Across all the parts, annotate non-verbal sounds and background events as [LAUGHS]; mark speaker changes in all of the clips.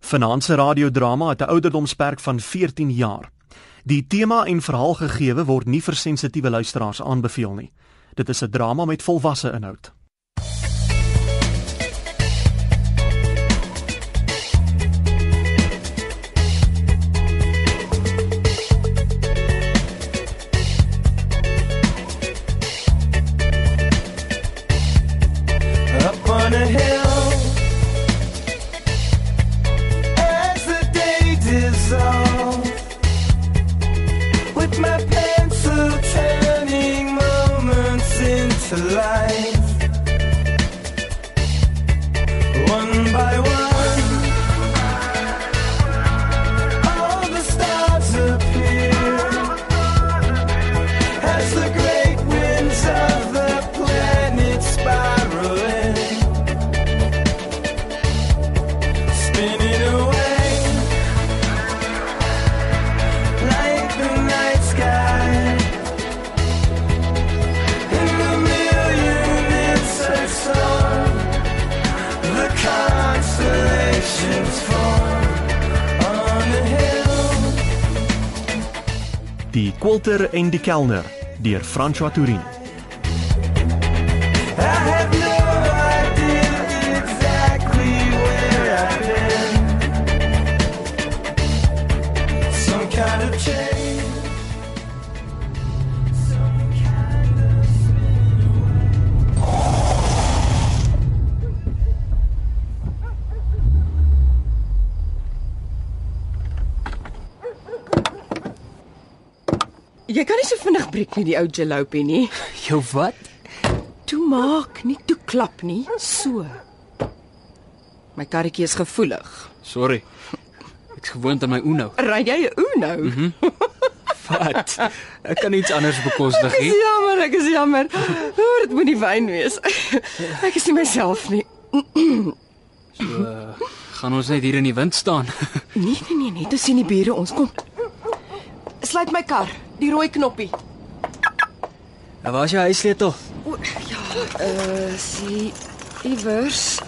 Speaker 1: Vanaand se radiodrama het 'n ouderdomsperk van 14 jaar. Die tema en verhaalgegewe word nie vir sensitiewe luisteraars aanbeveel nie. Dit is 'n drama met volwasse inhoud.
Speaker 2: up on a hill as the day dissolves with my pencil turning moments into life one by one all the stars appear as the great winds of the planet spiral in spinning away like the night sky in the million insects on the constellations form on a hill.
Speaker 1: Die Quilter en die Kelner deur François Tourin.
Speaker 2: I have no idea exactly where I've been. Some kind of change. Some kind of
Speaker 3: Jy kan nie so vinnig breek nie die ou jalopy nie.
Speaker 4: Jou wat?
Speaker 3: Toe maak, nie toe klap nie. So. My karretjie is gevoelig.
Speaker 4: Sorry. Ek's gewoond aan my Uno.
Speaker 3: Ry jy 'n Uno? Mm -hmm.
Speaker 4: Wat? Ek kan iets anders bekostig
Speaker 3: Ek
Speaker 4: nie.
Speaker 3: is jammer, ek is jammer. O, dit moet nie wyn wees. Ek is nie myself nie.
Speaker 4: So uh, gaan ons net hier in die wind staan. [LAUGHS]
Speaker 3: Nee, nee, nee, nee, toe sien die bure ons kom. Sluit my kar, die rooi knoppie.
Speaker 4: Nou waar's jou huissleutel?
Speaker 3: O, ja, eh, uh, sien iewers.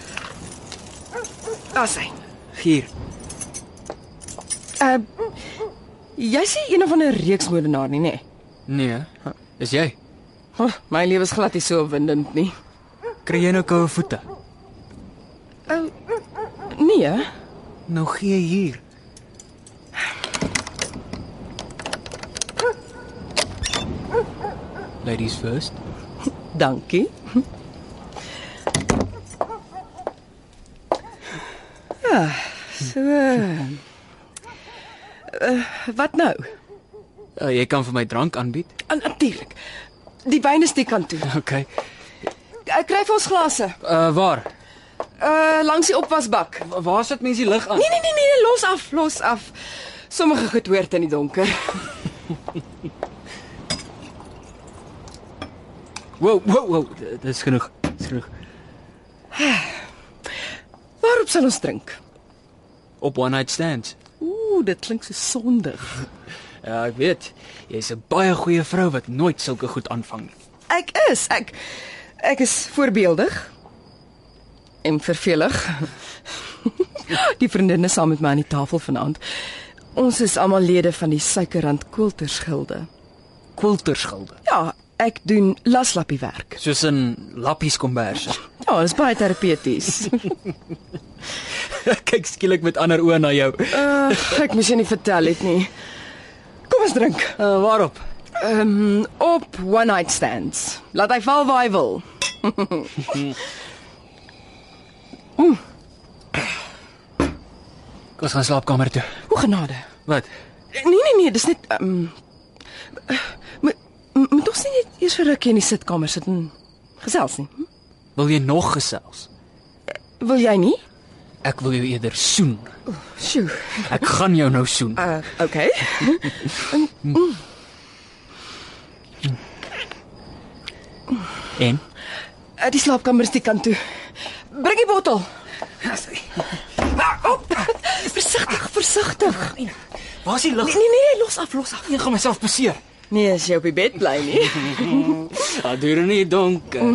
Speaker 3: Daar's hy.
Speaker 4: Hier.
Speaker 3: Uh jy's nie een van 'n reeksmoordenaar nie, nê? Nee.
Speaker 4: Nee. Is jy?
Speaker 3: Oh, my lewe is glad nie so opwindend nie.
Speaker 4: Kry jy nou koue voete?
Speaker 3: Nee, hè?
Speaker 4: Nou gee hier. Ladies first.
Speaker 3: dankie. Ja, so. Uh, wat nou?
Speaker 4: Uh, jy kan vir my drank aanbied. [LAUGHS]
Speaker 3: Uh, Natuurlik. Die wyn is die kant toe.
Speaker 4: OK.
Speaker 3: Uh, kry vir ons glase.
Speaker 4: Uh waar?
Speaker 3: Uh langs die opwasbak.
Speaker 4: Wa- Waar sit mense die lig aan?
Speaker 3: Nee nee nee nee, los af, los af. Sommige goed hoort in die donker.
Speaker 4: Wow, wow, wow. D- Dis genoeg. Dis genoeg.
Speaker 3: Waarop sal ons drink?
Speaker 4: Op one night stands.
Speaker 3: Ooh, dit klink so sondig.
Speaker 4: Ja, ek weet. Jy's 'n baie goeie vrou wat nooit sulke goed aanvang nie.
Speaker 3: Ek is. Ek ek is voorbeeldig en vervelig. [LAUGHS] die vriendinne saam met my aan die tafel vanaand. Ons is almal lede van die Suikerrand Koeltersgilde.
Speaker 4: Quilterskilde.
Speaker 3: Ja, ek doen laslappie werk.
Speaker 4: Soos in lappies komberse. [LAUGHS]
Speaker 3: Ja, dit is baie [LAUGHS] terapeuties.
Speaker 4: Ek Kyk skielik met ander oë na jou.
Speaker 3: uh, ek moes jou nie vertel het nie. Kom ons drink.
Speaker 4: Uh waarop?
Speaker 3: Ehm um, op one night stands. Laat hy val waar hy wil.
Speaker 4: Kom ons gaan slaapkamer toe.
Speaker 3: O genade.
Speaker 4: Wat?
Speaker 3: Nee nee nee, dis net ehm um, moet moet ons nie net eers vir rukkie in die sitkamer sit en gesels nie. Hm?
Speaker 4: Wil jy nog gesels?
Speaker 3: Wil jy nie?
Speaker 4: Ek wil jou eerder soen.
Speaker 3: Sjoe.
Speaker 4: Ek gaan jou nou soen.
Speaker 3: Uh, okay.
Speaker 4: En
Speaker 3: Uh, die slaapkamer is die kant toe. Bring die bottel. Ja, Ah, op. Versigtig, versigtig. Nee
Speaker 4: waar's die lig?
Speaker 3: nee nee, los nee, af, los af.
Speaker 4: Ek gaan myself beseer.
Speaker 3: Nee, as jy op die bed bly nie.
Speaker 4: Adur nie donker.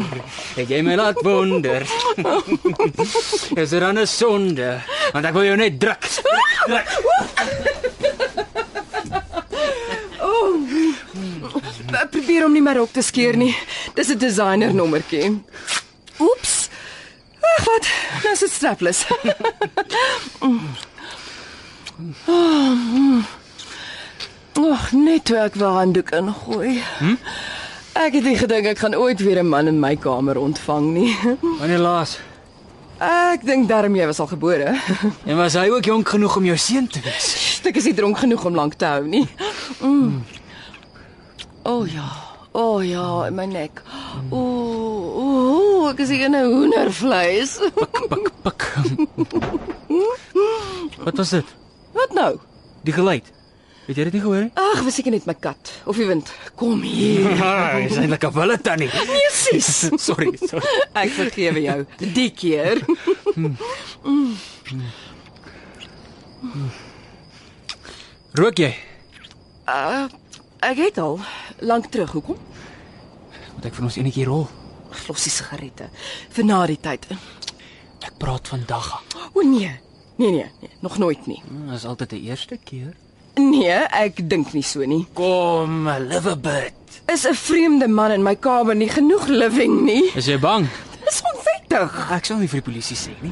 Speaker 4: Het jy my laat [LAUGHS] wonder? Is dit dan 'n sonde? Want ek wil jou net druk. Druk.
Speaker 3: Oh. Ek probeer om nie my rok te skeer nie. Dis 'n designer nommertjie. Oeps. Ag wat, nou is dit strapless. [LAUGHS] Ag, net toe ek weer handdoek ingooi. Hm? Ek het nie gedink ek gaan ooit weer 'n man in my kamer ontvang nie. [LAUGHS]
Speaker 4: Wanneer laas?
Speaker 3: Ek dink darm jy was al gebore.
Speaker 4: En was hy ook jonk genoeg om jou seun te wees?
Speaker 3: Ek is nie dronk genoeg om lank te hou nie. Mm. O oh, ja. O oh, ja, in my nek. O, oh, oh, ek is hier in 'n hoendervleis.
Speaker 4: Pik pik. Wat was dit?
Speaker 3: Wat nou?
Speaker 4: Die geluid. Het jy dit nie gehoor nie?
Speaker 3: Ag, was seker net my kat of die wind. Kom hier.
Speaker 4: Ah, jy is eintlik 'n wille tannie.
Speaker 3: Presies.
Speaker 4: [LAUGHS] Sorry, sorry.
Speaker 3: Ek vergewe jou die keer.
Speaker 4: Rook jy?
Speaker 3: Uh, ek het al lank terug hoekom?
Speaker 4: Moet ek vir ons enetjie rol?
Speaker 3: Los die sigarette vir na die tyd.
Speaker 4: Ek praat vandag.
Speaker 3: O nee. Nee nee, nee, nog nooit nie.
Speaker 4: Hmm, Dis altyd die eerste keer.
Speaker 3: Nee, ek dink nie so nie.
Speaker 4: Kom, live a bit.
Speaker 3: Is 'n vreemde man in my kamer nie genoeg living [LAUGHS] nie.
Speaker 4: Is jy bang?
Speaker 3: Dis onwettig.
Speaker 4: Ek sal nie vir die polisie sê nie.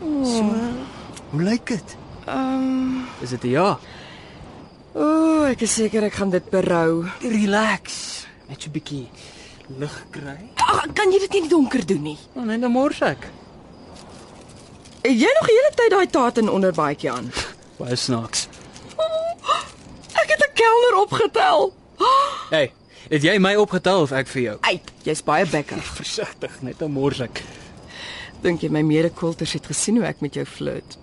Speaker 4: Hmm. So, hoe lyk dit?
Speaker 3: Ehm,
Speaker 4: Is dit 'n ja?
Speaker 3: um, ooh, ek is seker ek gaan dit berou.
Speaker 4: Relax. Net so 'n bietjie lig kry.
Speaker 3: Ag, kan jy dit nie in die donker doen nie?
Speaker 4: Oh, net 'n morsak.
Speaker 3: Het jy nog die hele tyd daai taat in onderbaadjie aan?
Speaker 4: Baie snaaks.
Speaker 3: Ek het 'n kelner opgetel.
Speaker 4: Hey, het jy my opgetel of ek vir jou?
Speaker 3: Uit, jy's baie bekker.
Speaker 4: Versigtig, net 'n morsak.
Speaker 3: Dink jy my mede-kulters het gesien hoe ek met jou flirt?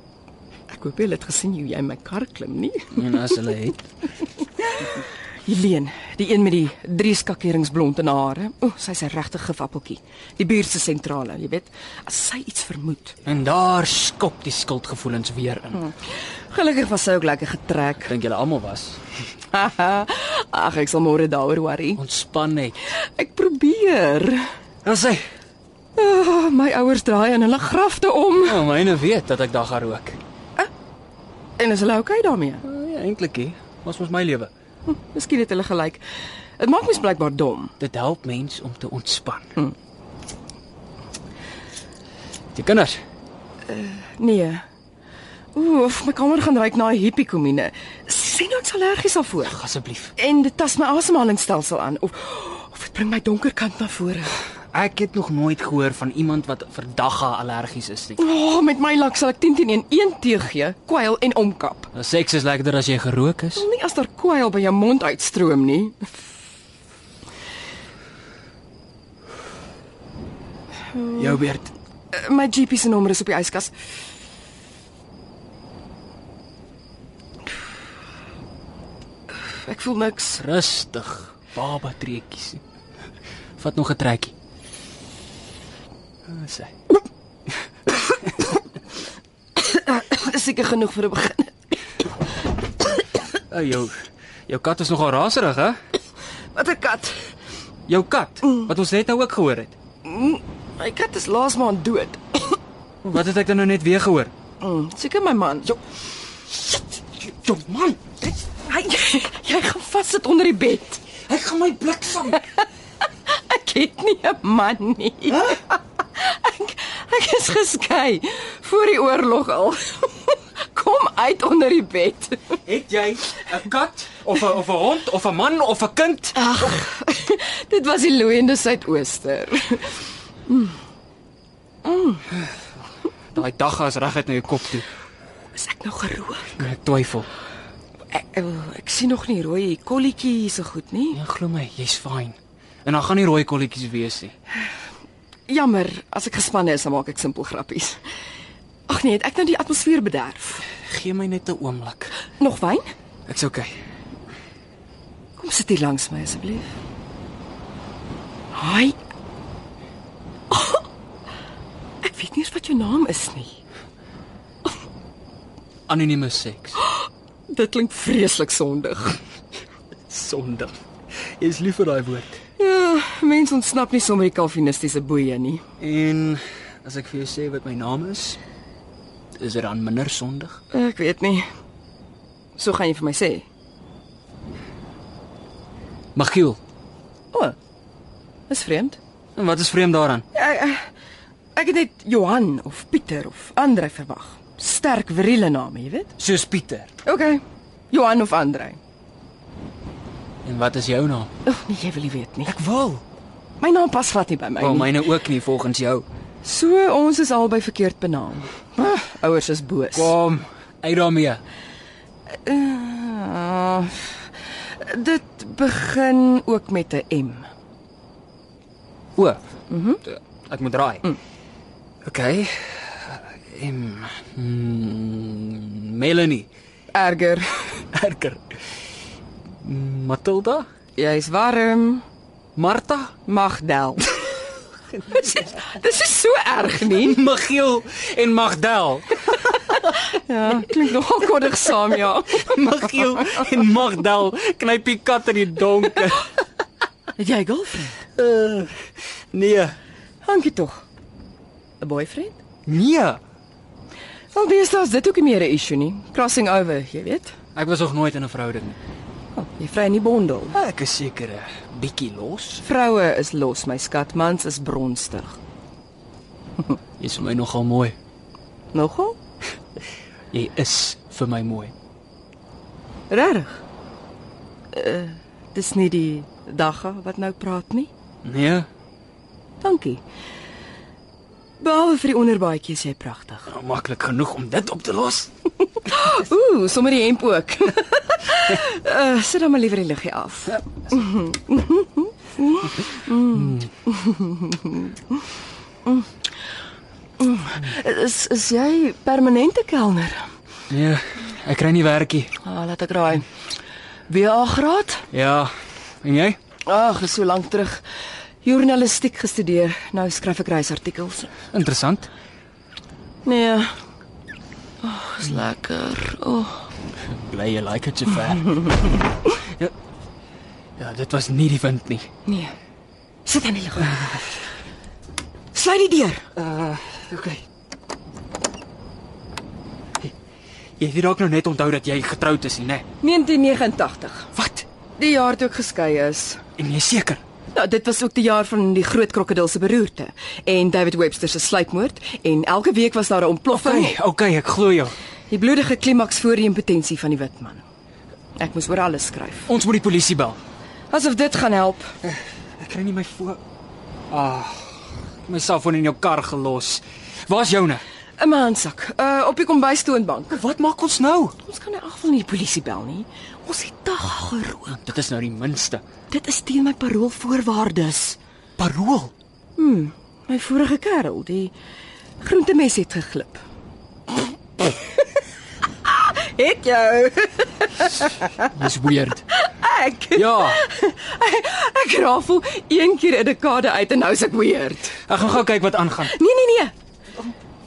Speaker 3: [LAUGHS] Ek hoop hulle het gesien hoe jy in my kar klim nie.
Speaker 4: En Nee, nou as hulle het,
Speaker 3: Helene, die een met die drie skakerings blond in haar hare. O, sy's 'n regte gewappeltjie. Die buurt se sentrale, jy weet, as sy iets vermoed.
Speaker 4: en daar skop die skuldgevoelens weer in.
Speaker 3: Gelukkig was sy ook lekker getrek.
Speaker 4: Hm.
Speaker 3: [LAUGHS]
Speaker 4: Dink julle almal was.
Speaker 3: Ag, ek sal môre daaroor worry.
Speaker 4: Ontspan net.
Speaker 3: Ek probeer.
Speaker 4: Dan sê,
Speaker 3: Oh, my ouers draai aan hulle grafte om.
Speaker 4: "Ja, myne weet dat ek daar gaan rook."
Speaker 3: En is hulle oukei okay daarmee?
Speaker 4: Oh, ja, eintlik hè. Was mos my lewe.
Speaker 3: Hm, miskien het hulle gelyk. Dit maak mens blykbaar dom.
Speaker 4: Dit help mens om te ontspan. Hm. Die kinders.
Speaker 3: Nee. Oef, my kamer gaan ruik na hippiekomine. Sien nou ek's allergies daarvoor.
Speaker 4: Asseblief.
Speaker 3: En dit tas my asemhalingsstelsel aan of of dit bring my donker kant na vore.
Speaker 4: Ek het nog nooit gehoor van iemand wat vir dagga allergies is nie.
Speaker 3: O, oh, met my lak sal ek 10 teen 1 een tee gee, kwyl en omkap.
Speaker 4: Seks is lekkerder as jy gerook is.
Speaker 3: Wil nie as daar kwyl by jou mond uitstroom nie.
Speaker 4: Jou beurt.
Speaker 3: Eh, My GP se nommer is op die yskas. Ek voel niks. [LAUGHS]
Speaker 4: Rustig, baba treetjies. Vat nog 'n trekkie. Ah, Sê.
Speaker 3: Dis seker genoeg vir 'n begin.
Speaker 4: O, jou jou kat is nogal raserig, hè?
Speaker 3: Wat 'n kat.
Speaker 4: Jou kat wat ons net nou ook gehoor het.
Speaker 3: My kat is laas maand dood.
Speaker 4: Wat het ek dan nou net weer gehoor?
Speaker 3: Mm, seker my man. Jo, [LAUGHS]
Speaker 4: Jong man,
Speaker 3: hy jy gaan vassit onder die bed.
Speaker 4: hy gaan my bliksem.
Speaker 3: Ek het nie 'n man nie. [LAUGHS] Ek ek is geskei voor die oorlog al. [LAUGHS] Kom uit onder die bed.
Speaker 4: [LAUGHS] Het jy 'n kat of 'n of 'n hond of 'n man of 'n kind?
Speaker 3: Ag. [LAUGHS] Dit was die looiende suidooster.
Speaker 4: Daai dagga is reguit na jou kop toe.
Speaker 3: Is ek nou gerook?
Speaker 4: Ek twyfel.
Speaker 3: Ek, eh, ek sien nog nie rooi kolletjie hier so goed nie.
Speaker 4: Ja, glo my, jy's fyn. En dan gaan nie rooi kolletjies wees nie.
Speaker 3: Jammer, as ek gespanne is, dan maak ek simpel grappies. Ag nee, het ek nou die atmosfeer bederf.
Speaker 4: Gee my net 'n oomblik.
Speaker 3: Nog wyn?
Speaker 4: Ek's okay.
Speaker 3: Kom sit hier langs my asseblief. Hi. [LAUGHS] Oh, ek weet nie eens wat jou naam is nie.
Speaker 4: Anonieme seks.
Speaker 3: Dit klink vreeslik sondig.
Speaker 4: Sondag. Jy's lief vir daai woord.
Speaker 3: Ja, Mense ontsnap nie sommer die kalvinistiese boeie nie.
Speaker 4: En as ek vir jou sê wat my naam is, is dit dan minder sondig?
Speaker 3: Ek weet nie. So gaan jy vir my sê.
Speaker 4: Magiel.
Speaker 3: O. Is vreemd.
Speaker 4: En wat is vreemd daaraan?
Speaker 3: Ek, ek- Eh, ek het net Johan of Pieter of Andre verwag. Sterk virile name, jy weet.
Speaker 4: Soos Pieter.
Speaker 3: OK. Johan of Andre.
Speaker 4: En wat is jou naam?
Speaker 3: Ag nee, jy wil nie weet nie.
Speaker 4: Ek wil.
Speaker 3: My naam pas glad nie by my
Speaker 4: Wel
Speaker 3: nie.
Speaker 4: myne ook nie volgens jou.
Speaker 3: So ons is albei verkeerd benaam. Ah, ouers is boos.
Speaker 4: Kom, uit daarmee.
Speaker 3: Ah, dit begin ook met 'n M.
Speaker 4: O. Mhm. Ek moet draai. Mm. OK. Ehm mm, Melanie.
Speaker 3: Erger.
Speaker 4: Erker. Matilda?
Speaker 3: Jy's warm,
Speaker 4: Martha?
Speaker 3: [LAUGHS] Magdel. Dis is- dis is so erg nie.
Speaker 4: Magiel en Magdal.
Speaker 3: Ja, klink nogal koddig saam ja.
Speaker 4: [LAUGHS] Magiel en Magdal knyp die kat in die donker.
Speaker 3: Het jy 'n girlfriend?
Speaker 4: Uh, nee.
Speaker 3: Hankie tog. 'n Boyfriend?
Speaker 4: Nee.
Speaker 3: Wel, dis daar's dit ook nie meer 'n issue nie. Crossing over, jy weet.
Speaker 4: Ek was nog nooit in 'n verhouding nie.
Speaker 3: Oh, jy vry nie bondel.
Speaker 4: Ah, Ek is seker 'n bietjie los.
Speaker 3: Vroue is los, my skat, mans is bronstig.
Speaker 4: Jy is vir my nogal mooi.
Speaker 3: Nogal?
Speaker 4: Jy is vir my mooi.
Speaker 3: Regtig? Uh, dis nie die dagga wat nou praat nie.
Speaker 4: Nee,
Speaker 3: Dankie. Behalwe vir die onderbaadjie is jy pragtig.
Speaker 4: nou maklik genoeg om dit op te los.
Speaker 3: Ooh, sommer die hemp ook. [LAUGHS] uh, sit dan maar liewer die liggie af. Is is jy permanente kelner?
Speaker 4: Nee, ek kry nie werkie.
Speaker 3: Ah, laat ek raai. BA graad?
Speaker 4: Ja. En jy?
Speaker 3: Ag, is so lank terug journalistiek gestudeer. Nou skryf ek reisartikels.
Speaker 4: Interessant.
Speaker 3: Nee. Ag, oh, is lekker. O, oh,
Speaker 4: Bly jy like dit [LAUGHS] ver. ja. Ja, dit was nie die wind nie.
Speaker 3: nee. Sit aan die lig. Sluit die deur. Eh,
Speaker 4: Okay. Jy het dalk nou net onthou dat jy getroud is, nie, né?
Speaker 3: 1989.
Speaker 4: Wat?
Speaker 3: Die jaar toe ek geskei is.
Speaker 4: En jy is seker?
Speaker 3: Nou, dit was ook die jaar van die groot krokodil se beroerte en David Webster se sluipmoord en elke week was daar 'n ontploffing.
Speaker 4: Okay, okay, ek glo jou.
Speaker 3: Die bloedige klimaks voor die impotensie van die wit man. Ek moes oor alles skryf.
Speaker 4: Ons moet die polisie bel.
Speaker 3: Asof dit gaan help.
Speaker 4: Ek kry nie my foon. Ag, my selfoon in jou kar gelos. Waar's joune?
Speaker 3: 'n Maansak, uh op die kombuis toonbank.
Speaker 4: Wat maak ons nou?
Speaker 3: Ons kan nie afval nie die polisie bel nie. Ons het dag geroep.
Speaker 4: Dit is nou die minste.
Speaker 3: Dit is teen my paroolvoorwaardes.
Speaker 4: Parool.
Speaker 3: My vorige kerel, die groentemes het geglip. het jou.
Speaker 4: Dis weird.
Speaker 3: Ek
Speaker 4: [LAUGHS] Ja,
Speaker 3: ek rafel een keer 'n dekade uit en nou is ek weird.
Speaker 4: ek gaan gou kyk wat aangaan.
Speaker 3: Nee nee nee.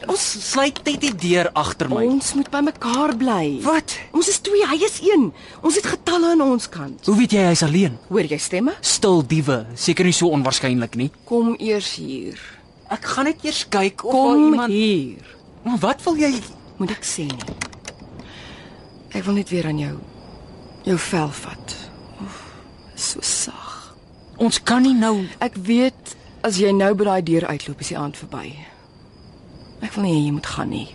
Speaker 4: Ons sluit net die deur agter my.
Speaker 3: Ons moet bymekaar bly.
Speaker 4: Oh, Wat?
Speaker 3: Ons is twee, hy is een. Ons het getalle aan ons kant.
Speaker 4: Hoe weet jy hy's alleen?
Speaker 3: Hoor jy stemme?
Speaker 4: Stil diewe, seker nie so onwaarskynlik nie.
Speaker 3: Kom eers hier.
Speaker 4: Ek gaan net eers kyk of daar
Speaker 3: Kom
Speaker 4: iemand
Speaker 3: hier.
Speaker 4: Maar wat wil jy?
Speaker 3: Moet ek sê nie. Ek wil net weer aan jou jou vel vat. Oef, so sag.
Speaker 4: Ons kan nie nou.
Speaker 3: Ek weet as jy nou by daai deur uitloop is die aand verby. Ek wil nie hê jy moet gaan nie.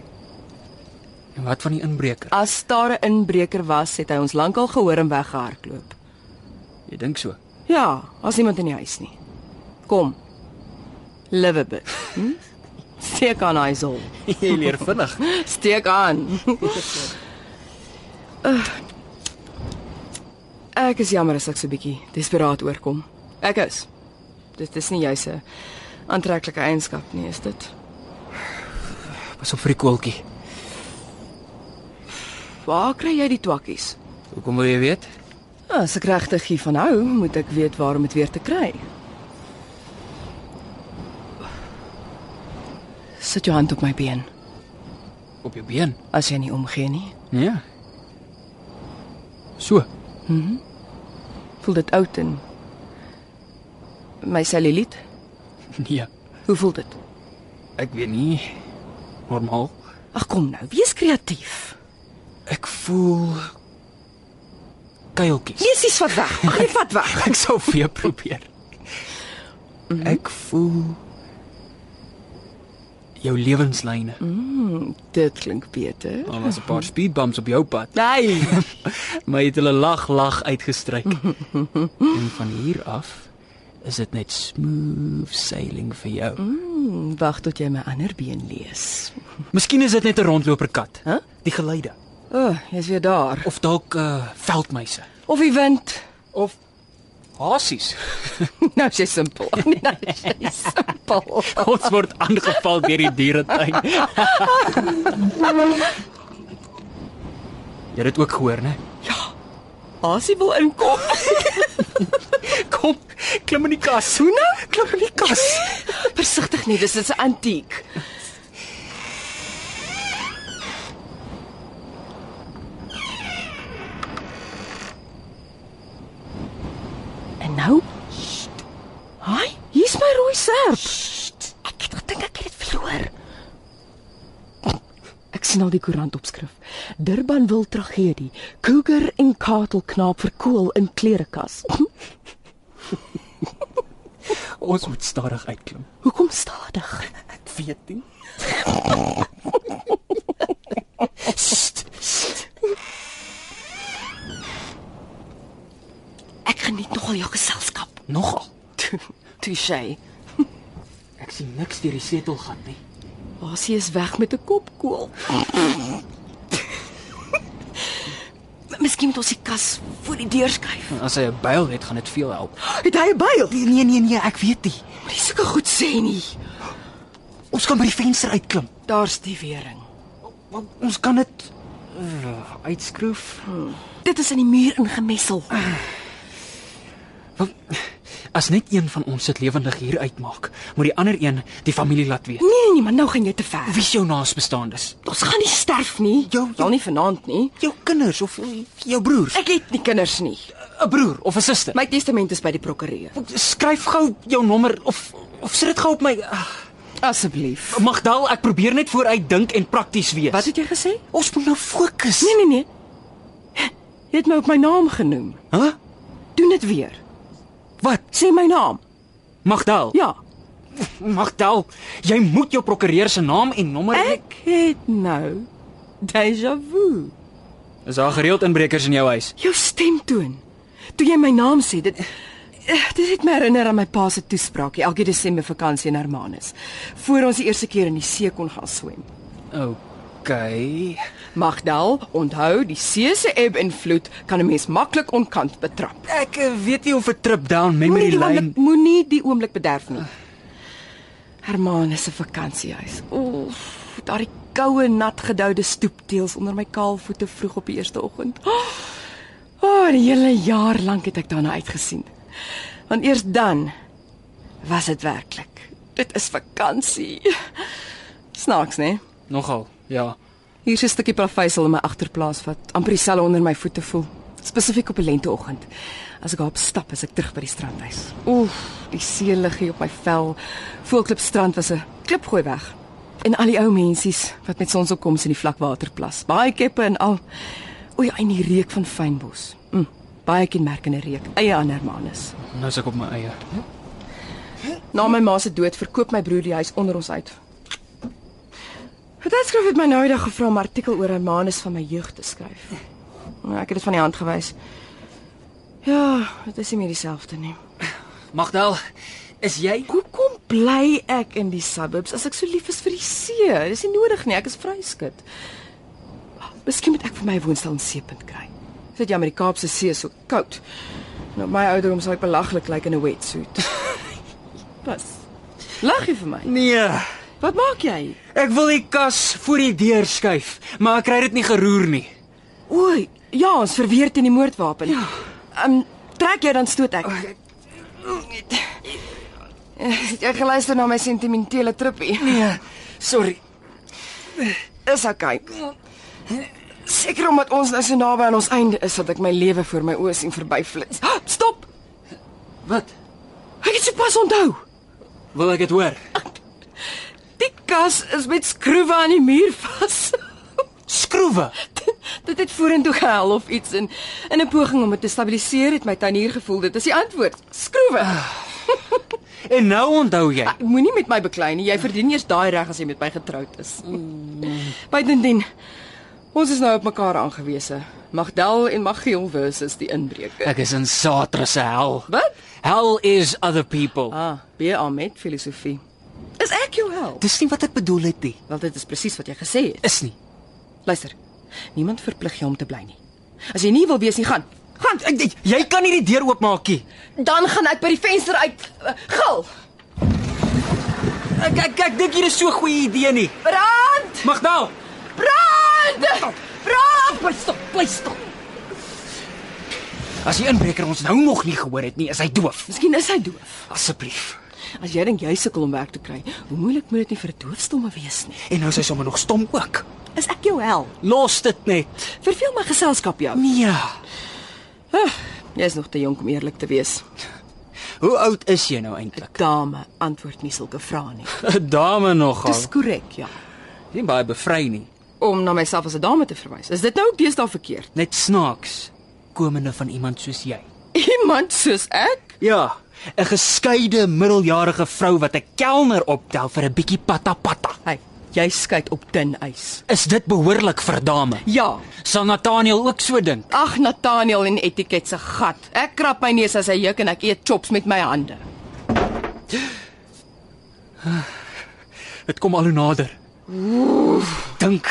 Speaker 4: En wat van die inbreker?
Speaker 3: As daar 'n inbreker was, het hy ons lankal gehoor en weggehardloop.
Speaker 4: Jy dink so.
Speaker 3: Ja, as iemand in die huis nie. Kom. Live a bit. Hm? [LAUGHS] Steek aan hy sou.
Speaker 4: jy leer vinnig.
Speaker 3: Steek aan. [LAUGHS] Ugh. ek is jammer as ek so bietjie desperaat oorkom. Ek is. Dit is nie jouse aantreklike eienskap nie, is dit?
Speaker 4: Pas op vir die koeltjie.
Speaker 3: Waar kry jy die twakkies?
Speaker 4: Hoekom wil jy weet?
Speaker 3: As ek regtig hiervan hou, moet ek weet waar om dit weer te kry. Sit jou hand op my been
Speaker 4: Op jou been.
Speaker 3: as jy nie omgee nie.
Speaker 4: Nee. So. [LAUGHS]
Speaker 3: Voel dit oud en my celluliet?
Speaker 4: Nee,
Speaker 3: Hoe voel dit?
Speaker 4: ek weet nie. Normaal.
Speaker 3: Ag kom nou, wees kreatief.
Speaker 4: Ek voel kuiltjies.
Speaker 3: Lees iets wat [LAUGHS] weg. Ag, jy vat weg.
Speaker 4: [LAUGHS] Ek sou vir jou probeer. Ek voel jou lewenslyne.
Speaker 3: Dit klink beter.
Speaker 4: Daar was 'n paar speed bumps op jou pad,
Speaker 3: Nee.
Speaker 4: [LAUGHS] maar jy het hulle lag lag [LAUGHS] uitgestryk. en van hier af is dit net smooth sailing vir jou.
Speaker 3: Wag tot jy my ander been lees.
Speaker 4: Miskien is dit net 'n rondloper kat.
Speaker 3: Huh?
Speaker 4: Die geluide
Speaker 3: O, oh, jy's weer daar.
Speaker 4: of dalk 'n uh, veldmeise
Speaker 3: Of die wind.
Speaker 4: of hasies.
Speaker 3: [LAUGHS] Nou is jy simpel. [LAUGHS] Ag, Nee, nou is jy simpel.
Speaker 4: [LAUGHS] Ons word aangeval deur die [LAUGHS] dieretuin. Jy het dit ook gehoor, né?
Speaker 3: Asie wil inkom.
Speaker 4: Kom, klim in die kas. Hoe nou? Klim in die kas.
Speaker 3: Versigtig nie, dis dis 'n antiek. En nou? Haai, hier's my rooi serp. Ek het gedink ek het dit verloor. Ek sien al die koerant opskrif. Durban wil tragedie. Cougar en katelknaap verkoel in klerekas.
Speaker 4: Ons moet stadig uitklim.
Speaker 3: Hoekom stadig?
Speaker 4: Ek weet [LAUGHS] nie.
Speaker 3: Ek geniet nogal jou geselskap.
Speaker 4: Nogal.
Speaker 3: Touché.
Speaker 4: Ek sien niks deur die setelgat nie.
Speaker 3: Basie is weg met 'n kop kool. Miskien moet ons die kas voor die deur skuif.
Speaker 4: As hy 'n byl het, gaan dit veel help.
Speaker 3: Het hy 'n byl?
Speaker 4: Nee, nee, nee, nee, ek weet nie.
Speaker 3: Moenie sulke goed sê nie.
Speaker 4: Ons kan by die venster uitklim.
Speaker 3: Daar's die wering.
Speaker 4: Want ons kan dit uh, uitskroef.
Speaker 3: Hmm. Dit is in die muur ingemessel.
Speaker 4: Want as net een van ons dit lewendig hier uitmaak, moet die ander een die familie laat weet.
Speaker 3: Nee nee, maar nou gaan jy te ver.
Speaker 4: Wie jou naasbestaandes?
Speaker 3: Ons gaan nie sterf nie.
Speaker 4: Jou- jou-
Speaker 3: Wel nie vanaand nie.
Speaker 4: Jou kinders of jou broers?
Speaker 3: Ek het nie kinders nie.
Speaker 4: 'n Broer of 'n suster?
Speaker 3: My testament is by die prokureur.
Speaker 4: Skryf gou jou nommer of of sit dit gou op my Ag,
Speaker 3: Asseblief.
Speaker 4: Magdal, ek probeer net vooruit dink en prakties wees.
Speaker 3: Wat het jy gesê?
Speaker 4: Ons moet nou fokus.
Speaker 3: Nee nee nee. Jy het my op my naam genoem.
Speaker 4: Hæ? Huh?
Speaker 3: Doen dit weer.
Speaker 4: Wat?
Speaker 3: Sê my naam.
Speaker 4: Magdal.
Speaker 3: Ja.
Speaker 4: Magdal, jy moet jou prokureur se naam en nommer
Speaker 3: Ek het nou déjà vu.
Speaker 4: Is daar gereeld inbrekers in jou huis?
Speaker 3: Jou stemtoon. Toe jy my naam sê, dit eh, dit het my herinner aan my pa se toespraakie elke Desember vakansie in Hermanus, voor ons die eerste keer in die see kon gaan swem.
Speaker 4: Okay.
Speaker 3: Magdal, onthou, die see se eb en vloed kan 'n mens maklik onkant betrap.
Speaker 4: Ek eh, weet nie of 'n trip down
Speaker 3: Moenie
Speaker 4: memory
Speaker 3: die
Speaker 4: lane.
Speaker 3: oomblik moenie die oomblik bederf nie. Hermanus Ah. se vakansiehuis. Oef, daardie koue nat gedoude stoepteels onder my kaal voete vroeg op die eerste oggend. [GASPS] O, oh, die hele jaar lank het ek daarna uitgesien. Want eers dan was dit werklik. Dit is vakansie. [LAUGHS] Snaaks, né?
Speaker 4: Nogal. Ja.
Speaker 3: Hier is 'n stukkie plaveisel in my agterplaas wat amper dieselfde onder my voete voel. Spesifiek op 'n lenteoggend. As ek op stap, is ek terug by die strandhuis. Oef, die see liggie op my vel. Voelklip strand was 'n klipgooi weg. En al die ou mensies wat met sonsopkoms in die vlakwaterplas. Baie keppe en al. O ja, en die reuk van fynbos. Mm, baie kenmerkende reuk. Eie aan Hermanus.
Speaker 4: Nou is ek op my eie.
Speaker 3: Na my ma se dood verkoop my broer die huis onder ons uit. Tydskrif het my nou eendag gevra om 'n artikel oor Hermanus van my jeug te skryf. Nou, ek het dit van die hand gewys. Ja, dit is nie meer dieselfde nie.
Speaker 4: Magdal, is jy
Speaker 3: Hoekom bly ek in die suburbs as ek so lief is vir die see? Dis nie nodig nie, ek is vryskut. Miskien moet ek vir my woonstel in Seepunt kry. Sit jy met die Kaapse see is so koud. Nou my ouderdom sou ek belaglik lyk like in 'n wetsuit. [LAUGHS] Pas. Lag jy vir my?
Speaker 4: Nee.
Speaker 3: Wat maak jy?
Speaker 4: Ek wil die kas voor die deur skuif, maar ek kry dit nie geroer nie.
Speaker 3: O, ja, ons verweer teen die moordwapen. Ja. Ehm um, trek jy dan stoot ek. Het Jy geluister na my sentimentele trippie. Nee,
Speaker 4: Sorry.
Speaker 3: is okay. Seker omdat ons nou so naby aan ons einde is dat ek my lewe voor my oë sien verbyflits. Stop.
Speaker 4: Wat?
Speaker 3: Ah, Ek het sopas kas onthou.
Speaker 4: Wil ek dit hoor?
Speaker 3: Die kas is met skroewe aan die muur vas. [LAUGHS]
Speaker 4: Skroewe.
Speaker 3: dit het vorentoe gehel of iets en in 'n poging om dit te stabiliseer het my tannie gevoel dit is die antwoord. Skroewe.
Speaker 4: En nou onthou jy.
Speaker 3: Ek Moenie met my beklei nie. Jy verdien eers daai reg as jy met my getroud is. Buitendien ons is nou op mekaar aangewese. Magdal en Magiel versus die inbreker.
Speaker 4: Ek is in Satra se hel.
Speaker 3: Wat?
Speaker 4: Hell is other people.
Speaker 3: Ah, BA met filosofie. Is ek jou help?
Speaker 4: Dis nie wat ek bedoel het nie.
Speaker 3: Wel dit is presies wat jy gesê het.
Speaker 4: Is nie.
Speaker 3: Luister. Niemand verplig jou om te bly nie. As jy nie wil wees nie, gaan. Gaan.
Speaker 4: Ek jy, jy kan nie die deur oopmaak nie.
Speaker 3: Dan gaan ek by die venster uit. eh, Gil.
Speaker 4: Ek ek ek dink hier is so 'n goeie idee nie.
Speaker 3: Brand!
Speaker 4: Magdal,
Speaker 3: Brand! Brand! Bly stop, bly stop.
Speaker 4: as die inbreker ons nou nog nie gehoor het nie, is hy doof.
Speaker 3: Miskien is hy doof.
Speaker 4: Asseblief.
Speaker 3: As jy dink jy sukkel om werk te kry, hoe moeilik moet dit nie vir 'n doofstomme wees nie.
Speaker 4: En nou is hy sommer nog stom ook.
Speaker 3: Is ek jou hel?
Speaker 4: Los dit net.
Speaker 3: Verveel my geselskap jou.
Speaker 4: Nee.
Speaker 3: Jy's nog te jonk om eerlik te wees.
Speaker 4: Hoe oud is jy nou eintlik?
Speaker 3: 'n Dame antwoord nie sulke vrae nie.
Speaker 4: 'n [LAUGHS] Dame nogal.
Speaker 3: Dis korrek, ja.
Speaker 4: Nie baie bevry nie.
Speaker 3: Om na myself as 'n dame te verwys. Is dit nou ook deesdae verkeerd? [LAUGHS]
Speaker 4: Net snaaks komende van iemand soos jy.
Speaker 3: Iemand soos ek?
Speaker 4: Ja, 'n geskeide middeljarige vrou wat 'n kelner optel vir 'n bietjie patapatta.
Speaker 3: Hey, jy skei op dun ys.
Speaker 4: Is dit behoorlik vir 'n dame?
Speaker 3: Ja.
Speaker 4: Sal Nathaniel ook so dink?
Speaker 3: Ag Nathaniel en etiket se gat. Ek krap my neus as hy juk en ek eet chops met my hande.
Speaker 4: Dit kom al hoe nader. Dink,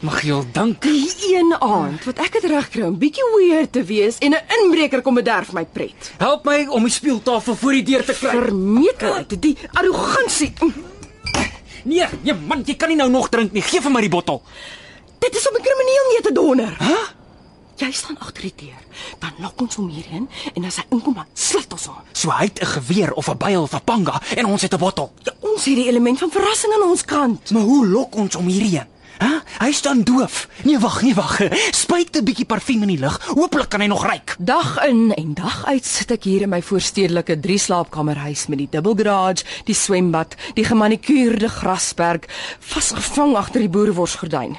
Speaker 4: Magiel, dink.
Speaker 3: Die een aand wat ek dit regkry om bietjie weird te wees en 'n inbreker kom bederf my pret.
Speaker 4: Help my om die speeltafel voor die deur te kry.
Speaker 3: Vermetelheid, die Mm, arrogansie.
Speaker 4: Nee, nee man, jy kan nie nou nog drink nie. Geef vir my die bottel.
Speaker 3: Dit is om 'n krimineel neer te donder. Hæ? Jy staan agter die deur. Dan lok ons hom hierheen en as hy inkom, dan slit ons hom.
Speaker 4: So hy het 'n geweer of 'n byl of 'n panga en ons het 'n bottel.
Speaker 3: Ja, ons het die element van verrassing aan ons kant.
Speaker 4: Maar hoe lok ons om hierheen? Hæ? Hy staan doof. Nee, wag, nee, wag. [LAUGHS] Spuit 'n bietjie parfuum in die lug. Hooplik kan hy nog ryk.
Speaker 3: Dag in en dag uit sit ek hier in my voorstedelike drie slaapkamerhuis met die double garage, die swembad, die gemanikuurde grasperk, vasgevang agter die boerworsgordyn.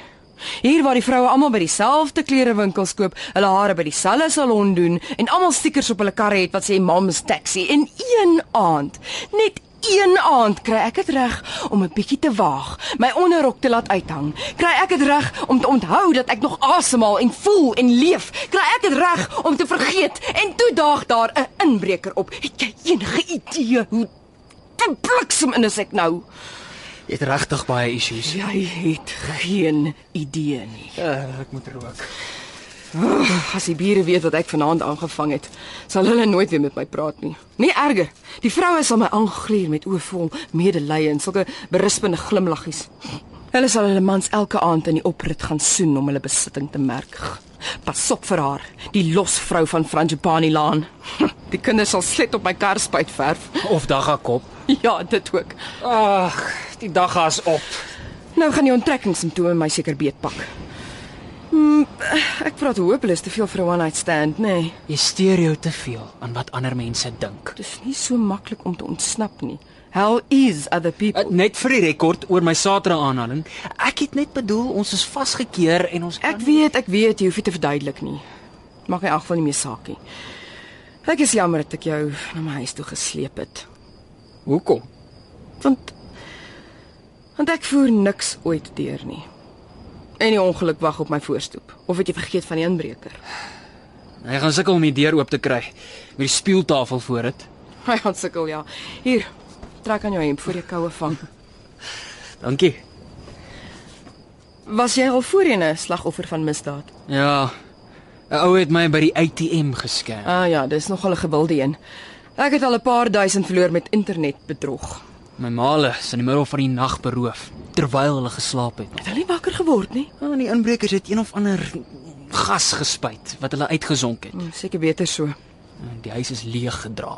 Speaker 3: Hier waar die vroue almal by dieselfde klerewinkels koop, hulle hare by dieselfde salon doen en almal stickers op hulle karre het wat sê Mom's Taxi in een aand. Net een aand kry ek dit reg om 'n bietjie te waag, my onderrok te laat uithang. Kry ek dit reg om te onthou dat ek nog asemhaal en voel en leef. Kry ek dit reg om te vergeet en toe daag daar 'n inbreker op. Het jy enige idee hoe te bliksem in is ek nou?
Speaker 4: Jy het regtig baie issues.
Speaker 3: Jy het geen idee nie.
Speaker 4: Uh, ek moet rook.
Speaker 3: As die bure weet wat ek vanaand aangevang het, sal hulle nooit weer met my praat nie. Nee, erger. Die vroue sal my aangluur met oë vol medelee en sulke berispende glimlaggies. Hulle sal hulle mans elke aand in die oprit gaan soen om hulle besitting te merk. Pas op vir haar, die losvrou van Frangipani Laan. [LAUGHS] Die kinders sal slet op my kar spuit verf.
Speaker 4: Of dagga kop.
Speaker 3: Ja, dit ook.
Speaker 4: Ag, die dagga is op.
Speaker 3: Nou gaan die onttrekkingssimptome my seker beetpak. Mm, ek praat hopeloos te veel vir 'n one-night stand, nê. Nee.
Speaker 4: Jy steur jou te veel aan wat ander mense dink.
Speaker 3: Dis nie so maklik om te ontsnap nie. Hell is other people.
Speaker 4: Uh, Net vir die rekord oor my Saterdag aanhaling. Ek het net bedoel ons is vasgekeer en ons
Speaker 3: Ek weet, ek weet jy hoef dit te verduidelik nie. Maak nie ag van nie meer saak nie. Ek is jammer dat ek jou na my huis toe gesleep het.
Speaker 4: Hoekom?
Speaker 3: Want want ek voer niks ooit deur nie. En die ongeluk wag op my voorstoep. Of het jy vergeet van die inbreker? [LAUGHS]
Speaker 4: Hy gaan sukkel om die deur oop te kry met die speeltafel voor dit.
Speaker 3: Hy gaan sukkel, ja. Hier, trek aan jou hemp voor jy koue vang.
Speaker 4: Dankie.
Speaker 3: Was jy al voorheen 'n slagoffer van misdaad?
Speaker 4: Ja. 'n Ou het my by die ATM geskerm.
Speaker 3: Ah ja, dis nogal 'n gewilde een. Ek het al 'n paar duisend verloor met internetbedrog.
Speaker 4: My maale is in die middel van die nag beroof terwyl hulle geslaap het.
Speaker 3: Het hulle nie wakker geword nie?
Speaker 4: Van die inbrekers het een of ander gas gespuit wat hulle uitgesonk het.
Speaker 3: Mm, Seker beter so.
Speaker 4: Die huis is leeg gedra.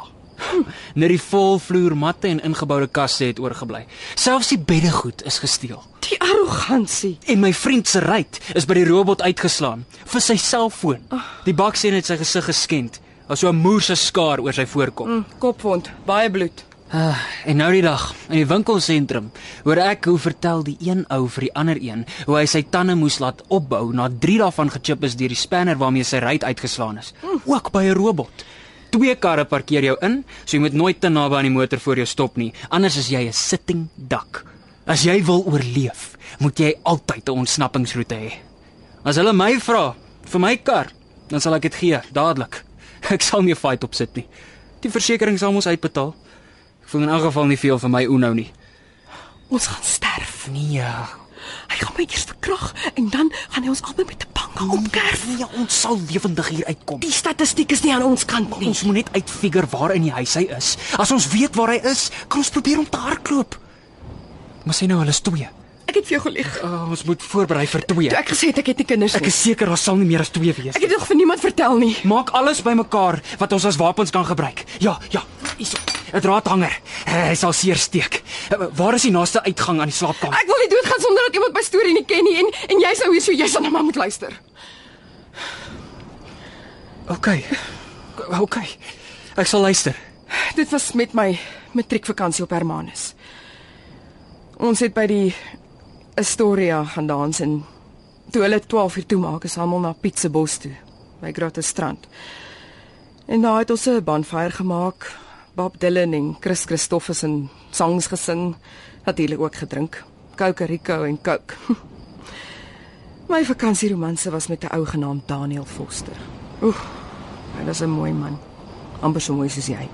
Speaker 4: [LAUGHS] Net die volvloermatte en ingeboude kaste het oorgebly. Selfs die beddegoed is gesteel.
Speaker 3: Die arrogansie.
Speaker 4: En my vriend se ruit is by die robot uitgeslaan vir sy selfoon. Die baksteen het sy gesig geskend, asook 'n moerse skaar oor sy voorkop.
Speaker 3: Mm, Hmm, kopwond, baie bloed.
Speaker 4: Ah, en nou die dag in die winkelsentrum hoor ek hoe vertel die een ou vir die ander een hoe hy sy tande moes laat opbou na 3 daarvan gechip is deur die spanner waarmee sy ruit uitgeslaan is. Ook by 'n robot. Twee karre parkeer jou in, so jy moet nooit te naby aan die motor voor jou stop nie, anders is jy 'n sitting dak. As jy wil oorleef, moet jy altyd 'n ontsnappingsroete hê. As hulle my vra vir my kar, dan sal ek dit gee, dadelik. [LAUGHS] Ek sal nie 'n fight opsit nie. Die versekerings sal mos uitbetaal. Ek voel in elk geval nie veel van my Uno nie.
Speaker 3: Ons gaan sterf.
Speaker 4: Nee.
Speaker 3: Hy gaan my eers verkrag en dan gaan hy ons albei met 'n bange opkerf.
Speaker 4: Nee, ons sal lewendig hier uitkom.
Speaker 3: Die statistiek is nie aan ons kant nie.
Speaker 4: Ons moet net uitfigure waar in die huis hy is. As ons weet waar hy is, kan ons probeer om te hardloop. Maar sê nou hulle is twee.
Speaker 3: Ek het vir jou gelieg.
Speaker 4: Uh, ons moet voorberei vir twee.
Speaker 3: Toe ek gesê het ek het nie kinders
Speaker 4: Ja. Ek
Speaker 3: nie.
Speaker 4: is seker daar sal nie meer as twee wees.
Speaker 3: Ek het dit nog vir niemand vertel nie.
Speaker 4: Maak alles bymekaar wat ons as wapens kan gebruik. Ja, ja, hierso. 'n Draadhanger. Eh, Hy sal seer steek. Eh, Waar is die naaste uitgang aan die slaapkamer?
Speaker 3: Ek wil nie doodgaan sonder dat iemand my storie nie ken nie en en jy sou hier so jy sal na my moet luister.
Speaker 4: OK. OK. Ek sal luister.
Speaker 3: Dit was met my matriekvakansie op Hermanus. Ons het by die Astoria gaan dans en toe hulle 12 uur toe maak is almal na Pietsebos toe by Grotte Strand. En daar het ons 'n bonfire gemaak. Bob Dylan en Chris Christofferson songs gesing, natuurlik ook gedrink. Coke Rico en Coke. [LAUGHS] My vakansieromanse was met 'n ou genaamd Daniel Foster. Oef, hy was 'n mooi man. amper so mooi soos jy.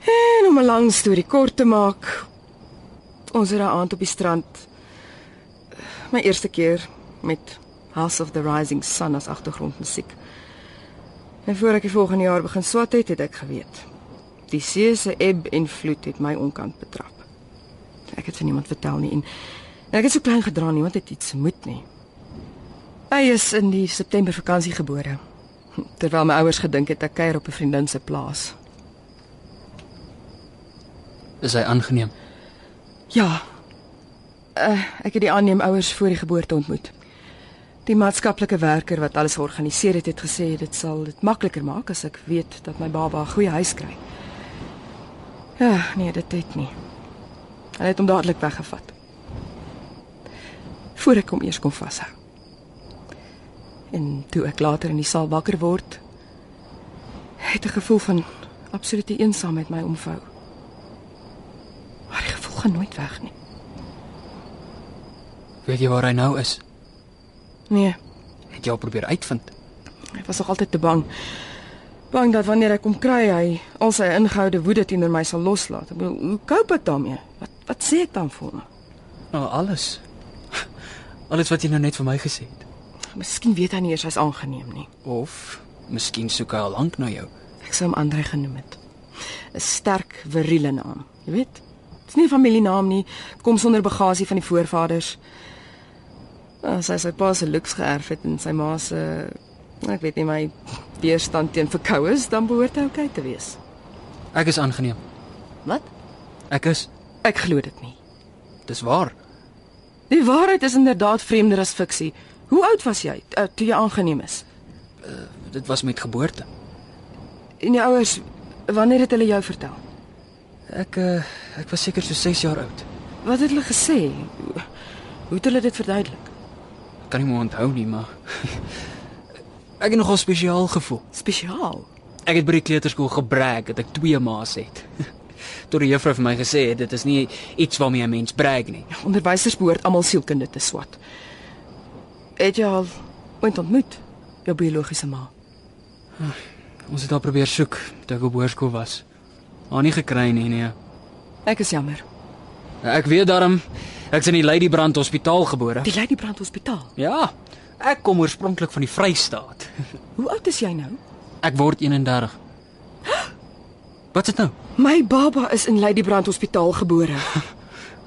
Speaker 3: En om 'n lang storie kort te maak, ons het daai aand op die strand eh, my eerste keer met House of the Rising Sun as agtergrondmusiek. En voor ek die volgende jaar begin swat het, het ek geweet. Die see se eb en vloed het my onkant betrap. Ek het vir niemand vertel nie en, en ek het so klein gedra, niemand het iets moet nie. Hy is in die September vakansie gebore. Terwyl my ouers gedink het ek kuier op 'n vriendin se plaas.
Speaker 4: Is hy aangeneem?
Speaker 3: Ja. Uh, ek het die aanneemouers voor die geboorte ontmoet. Die maatskaplike werker wat alles georganiseer het, het gesê dit sal dit makliker maak as ek weet dat my baba 'n goeie huis kry. Ja, nee, dit het nie. Hulle het hom dadelik weggevat. Voor ek hom eers kon vashou. En toe ek later in die saal wakker word, het 'n gevoel van absolute eensaamheid my omvou. Maar die gevoel gaan nooit weg nie.
Speaker 4: Weet jy waar hy nou is?
Speaker 3: Nee.
Speaker 4: Het jy al probeer uitvind?
Speaker 3: Ek was nog altyd te bang. Bang dat wanneer ek hom kry, hy al sy ingehoude woede teenoor my sal loslaat. Ek bedoel, hoe cope ek daarmee? Wat wat sê ek dan vir hom?
Speaker 4: Nou alles. Alles wat jy nou net vir my gesê het.
Speaker 3: Miskien weet hy nie eers hy's aangeneem nie.
Speaker 4: Of miskien soek hy al lank na jou.
Speaker 3: Ek sou hom Andre genoem het. 'n Sterk viriele naam, jy weet. Dit's nie 'n familienaam nie, kom sonder bagasie van die voorvaders. As hy sy pa se looks geërf het en sy ma se ek weet nie my weerstand teen verkoues, dan behoort hy oukei te wees.
Speaker 4: Ek is aangeneem.
Speaker 3: Wat?
Speaker 4: Ek is.
Speaker 3: Ek glo dit nie.
Speaker 4: Dis waar.
Speaker 3: Die waarheid is inderdaad vreemder as fiksie. Hoe oud was jy uh, toe jy aangeneem is?
Speaker 4: Dit was met geboorte.
Speaker 3: En jou ouers, wanneer het hulle jou vertel?
Speaker 4: Ek uh, ek was seker so 6 jaar oud.
Speaker 3: Wat het hulle gesê? Hoe- Hoe het hulle dit verduidelik?
Speaker 4: Ek kan nie meer onthou nie, maar [LAUGHS] ek het nogal spesiaal gevoel.
Speaker 3: Spesiaal.
Speaker 4: Ek het by die kleuterskool gebrek dat ek twee ma's het. [LAUGHS] Toe die juffrou vir my gesê het dit is nie iets waarmee 'n mens brek nie.
Speaker 3: Onderwysers behoort almal sielkunde te swat. Het jy al ooit ontmoet jou biologiese ma?
Speaker 4: Ons het haar probeer soek toe ek op hoërskool was. Haar nie gekry nie, nee.
Speaker 3: Ek is jammer.
Speaker 4: Ek weet daarom ek's in die Ladybrand Hospitaal gebore.
Speaker 3: Die Lady Brand Hospitaal.
Speaker 4: Ja, ek kom oorspronklik van die Vrystaat.
Speaker 3: Hoe oud is jy nou?
Speaker 4: Ek word 31. Wat is dit nou?
Speaker 3: My baba is in Lady Brand Hospitaal gebore.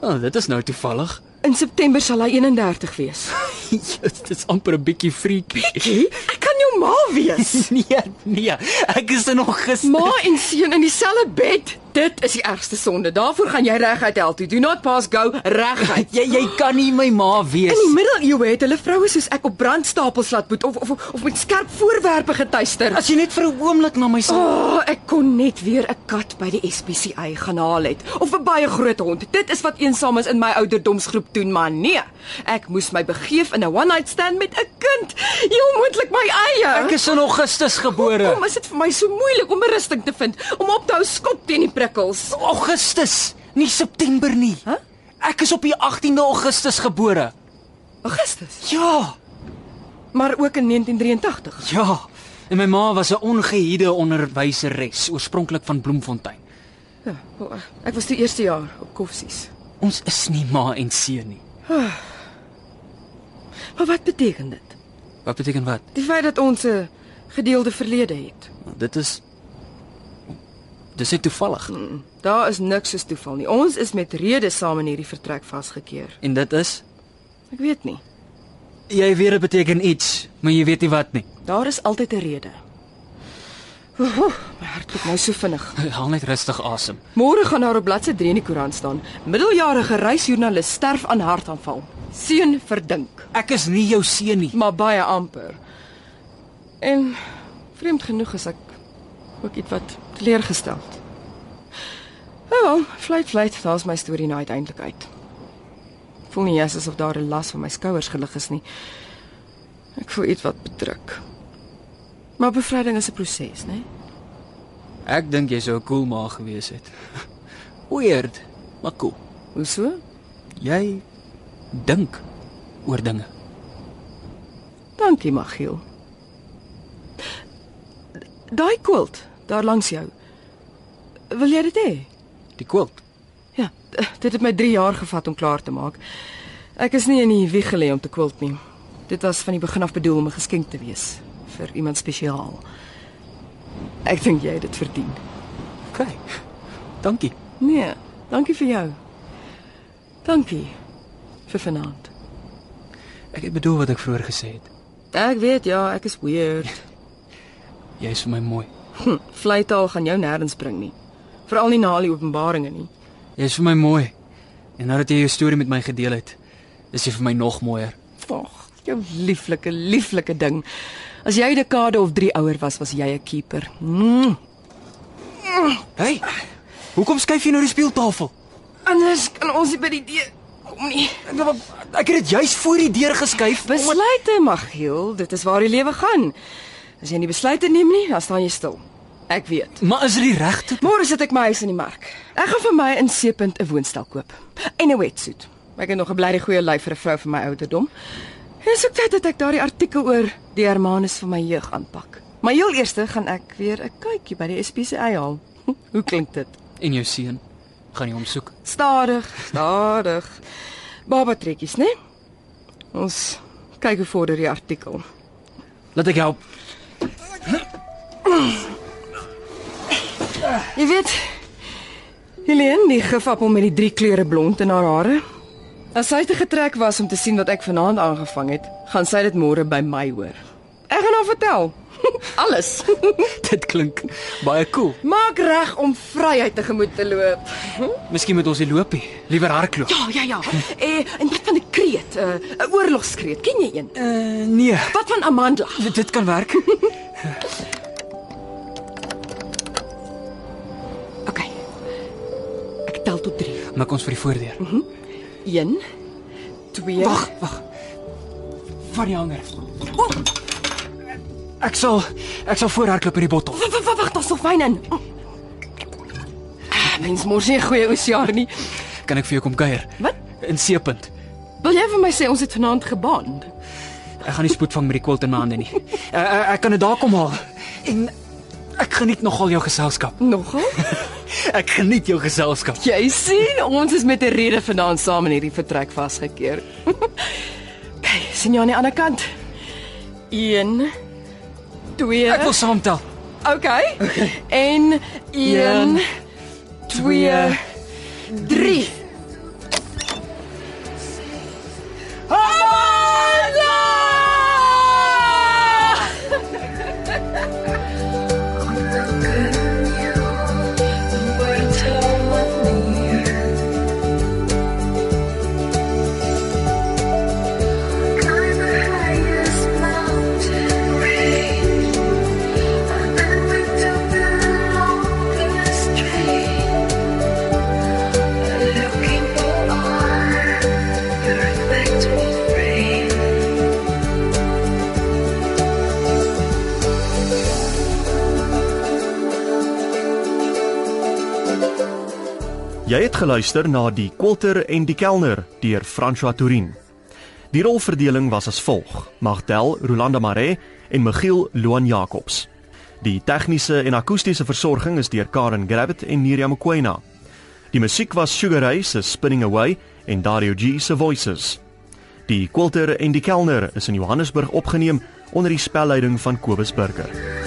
Speaker 4: Oh, dit is nou toevallig. [LAUGHS]
Speaker 3: In September sal hy 31 wees.
Speaker 4: Jesus, dit is amper 'n bietjie [LAUGHS] freaky.
Speaker 3: Ek kan jou ma wees.
Speaker 4: Nee, nee. Ek is er nog gister.
Speaker 3: Ma en seun in dieselfde bed. Dit is die ergste sonde. Daarvoor gaan jy reguit hel toe. Do not pass go reguit.
Speaker 4: [LAUGHS] Jy jy kan nie my ma
Speaker 3: In
Speaker 4: wees.
Speaker 3: die middeleeue het hulle vroue soos ek op brandstapels laat boet of of of met skerp voorwerpe getuister.
Speaker 4: As jy net vir 'n oomblik na my
Speaker 3: O,
Speaker 4: sal.
Speaker 3: oh, ek kon net weer 'n kat by die SPCA gaan haal het of 'n baie groot hond. Dit is wat eensames in my ouderdomsgroep doen, maar nee. Ek moes my begeef in 'n one-night stand met 'n kind. Heel moontlik my eie.
Speaker 4: Ek is in Augustus gebore.
Speaker 3: Kom, is dit vir my so moeilik om berusting te vind, om op te hou skop teen die prikkels.
Speaker 4: Augustus, nie September nie.
Speaker 3: Huh?
Speaker 4: Ek is op die 18de Augustus gebore.
Speaker 3: Augustus,
Speaker 4: Ja,
Speaker 3: maar ook in 1983.
Speaker 4: ja. En my ma was 'n ongehuide onderwyseres, oorspronklik van Bloemfontein.
Speaker 3: Ja, o, ek was die eerste jaar op koffsies.
Speaker 4: Ons is nie ma en seun nie.
Speaker 3: Maar wat beteken dit?
Speaker 4: Wat beteken wat?
Speaker 3: Die feit dat ons 'n gedeelde verlede het.
Speaker 4: Dit is Dis net toevallig.
Speaker 3: Daar is niks soos toeval nie. Ons is met rede saam in hierdie vertrek vasgekeer.
Speaker 4: En dit is
Speaker 3: Ek weet nie.
Speaker 4: jy weet dit beteken iets, maar jy weet nie wat [LAUGHS] nie.
Speaker 3: Daar is altyd 'n rede. Oeh, my hart klop nou so vinnig.
Speaker 4: Haal net rustig asem.
Speaker 3: Môre gaan daar op bladsy 3 in die koerant staan: Middeljarige reisjoernalis sterf aan hartaanval. Seun verdink,
Speaker 4: Ek is nie jou seun nie.
Speaker 3: maar baie amper. En vreemd genoeg is ek ook ietwat teleurgesteld. Nou wel, vlei vlei, daar's my storie nou uiteindelik uit. Voel nie eers asof daar 'n las van my skouers gelig is nie. Ek voel ietwat bedruk. Maar bevryding is 'n proses, né?
Speaker 4: Ek dink jy sou 'n cool ma gewees het. [LAUGHS] Weird, maar cool.
Speaker 3: Hoe so?
Speaker 4: Jy dink oor dinge.
Speaker 3: Dankie, Magiel. Daai quilt daar langs jou. Wil jy dit hê?
Speaker 4: Die quilt.
Speaker 3: Ja, d- dit het my 3 jaar gevat om klaar te maak. Ek is nie in die wieg gelê om te quilt nie. Dit was van die begin af bedoel om 'n geskenk te wees vir iemand spesiaal. Ek dink jy het dit verdien.
Speaker 4: OK. Dankie.
Speaker 3: Nee, dankie vir jou. Dankie vir vanaand.
Speaker 4: Ek het bedoel wat ek vroeër gesê het.
Speaker 3: Ek weet ja, ek is weird.
Speaker 4: Jy is vir my mooi.
Speaker 3: Hm, Vleitaal gaan jou nêrens bring nie. Veral nie na al die openbaringe nie.
Speaker 4: Jy is vir my mooi. En nou dat jy jou storie met my gedeel het, is jy vir my nog mooier.
Speaker 3: Ag, jou lieflike, lieflike ding. As jy 'n dekade of 3 ouer was, was jy 'n keeper. Mm.
Speaker 4: Hey. Hoekom skuif jy nou die speeltafel?
Speaker 3: Anders kan ons nie by die deur kom nie.
Speaker 4: Nou, Ek het dit juis voor die deur geskuif.
Speaker 3: Besluite, Magiel, dit is waar die lewe gaan. As jy nie besluite neem nie, dan staan jy stil. Ek weet.
Speaker 4: Maar is dit die regte?
Speaker 3: Môre sit ek my huis in die mark. Ek gaan vir my in Seepunt 'n woonstel koop en 'n wetsuit. Ek het nog 'n blyde goeie lyf vir 'n vrou van my ouderdom. Dis ook tyd dat ek daardie artikel oor die Hermanus van my jeug aanpak. Maar heel eers gaan ek weer 'n kykie by die SPCA haal. [LAUGHS] Hoe klink dit?
Speaker 4: En jou seun gaan jy hom soek.
Speaker 3: Stadig, stadig. Baba trekkies, né? Ons kyk hoe vorder die artikel.
Speaker 4: Laat ek help.
Speaker 3: Jy weet, Helene, die gefappel met die drie kleure blond in haar hare. As sy te getrek was om te sien wat ek vanaand aangevang het, gaan sy dit môre by my hoor. Ek gaan haar vertel. [LAUGHS] Alles.
Speaker 4: Dit klink baie cool.
Speaker 3: Maak reg om vryheid tegemoet te loop.
Speaker 4: Miskien moet ons hier loopie, liewer hardloop.
Speaker 3: Ja, ja, ja. Eh, en wat van 'n kreet, 'n uh, oorlogskreet, ken jy een?
Speaker 4: Uh, nee,
Speaker 3: Wat van Amanda?
Speaker 4: dit, dit kan werk.
Speaker 3: OK. Ek tel tot 3.
Speaker 4: Maak ons vir die voordeur.
Speaker 3: 1 2
Speaker 4: Wag, wag. Van die hanger.
Speaker 3: O,
Speaker 4: Ek sal ek sal voor hardloop in die bottel.
Speaker 3: wag, wag, wag, daar's nog wyn in. Oh. Ah, mens mors nie 'n goeie oseaan nie.
Speaker 4: Kan ek vir jou kom kuier?
Speaker 3: Wat?
Speaker 4: In seepunt.
Speaker 3: Wil jy vir my sê ons het vanaand gebaan?
Speaker 4: Ek gaan nie spoed vang met die quilt in my hande nie. Ek, ek, ek kan dit daar kom haal. En ek geniet nogal jou geselskap.
Speaker 3: Nogal?
Speaker 4: Ek geniet jou geselskap.
Speaker 3: [LAUGHS] jy sien, ons is met 'n rede vanaand saam in hierdie vertrek vasgekeer. [LAUGHS] Kyk, sien jy aan die ander kant? 1 2
Speaker 4: Ek wil saamtel.
Speaker 3: Okay. En 1
Speaker 4: Een,
Speaker 3: 2 3 Hallo!
Speaker 5: Word to
Speaker 1: Jy het geluister na Die Quilter en die Kelner deur François Tourin. Die rolverdeling was as volg: Magdel Rolanda Maree en Michiel Loan Jacobs. Die tegniese en akoestiese versorging is deur Karen Gravett en Neriya Mkwena. Die musiek was Sugar Ray se Spinning Away en Dario G se Voices. Die Quilter en die Kelner is in Johannesburg opgeneem onder die spelleiding van Kobus Burger.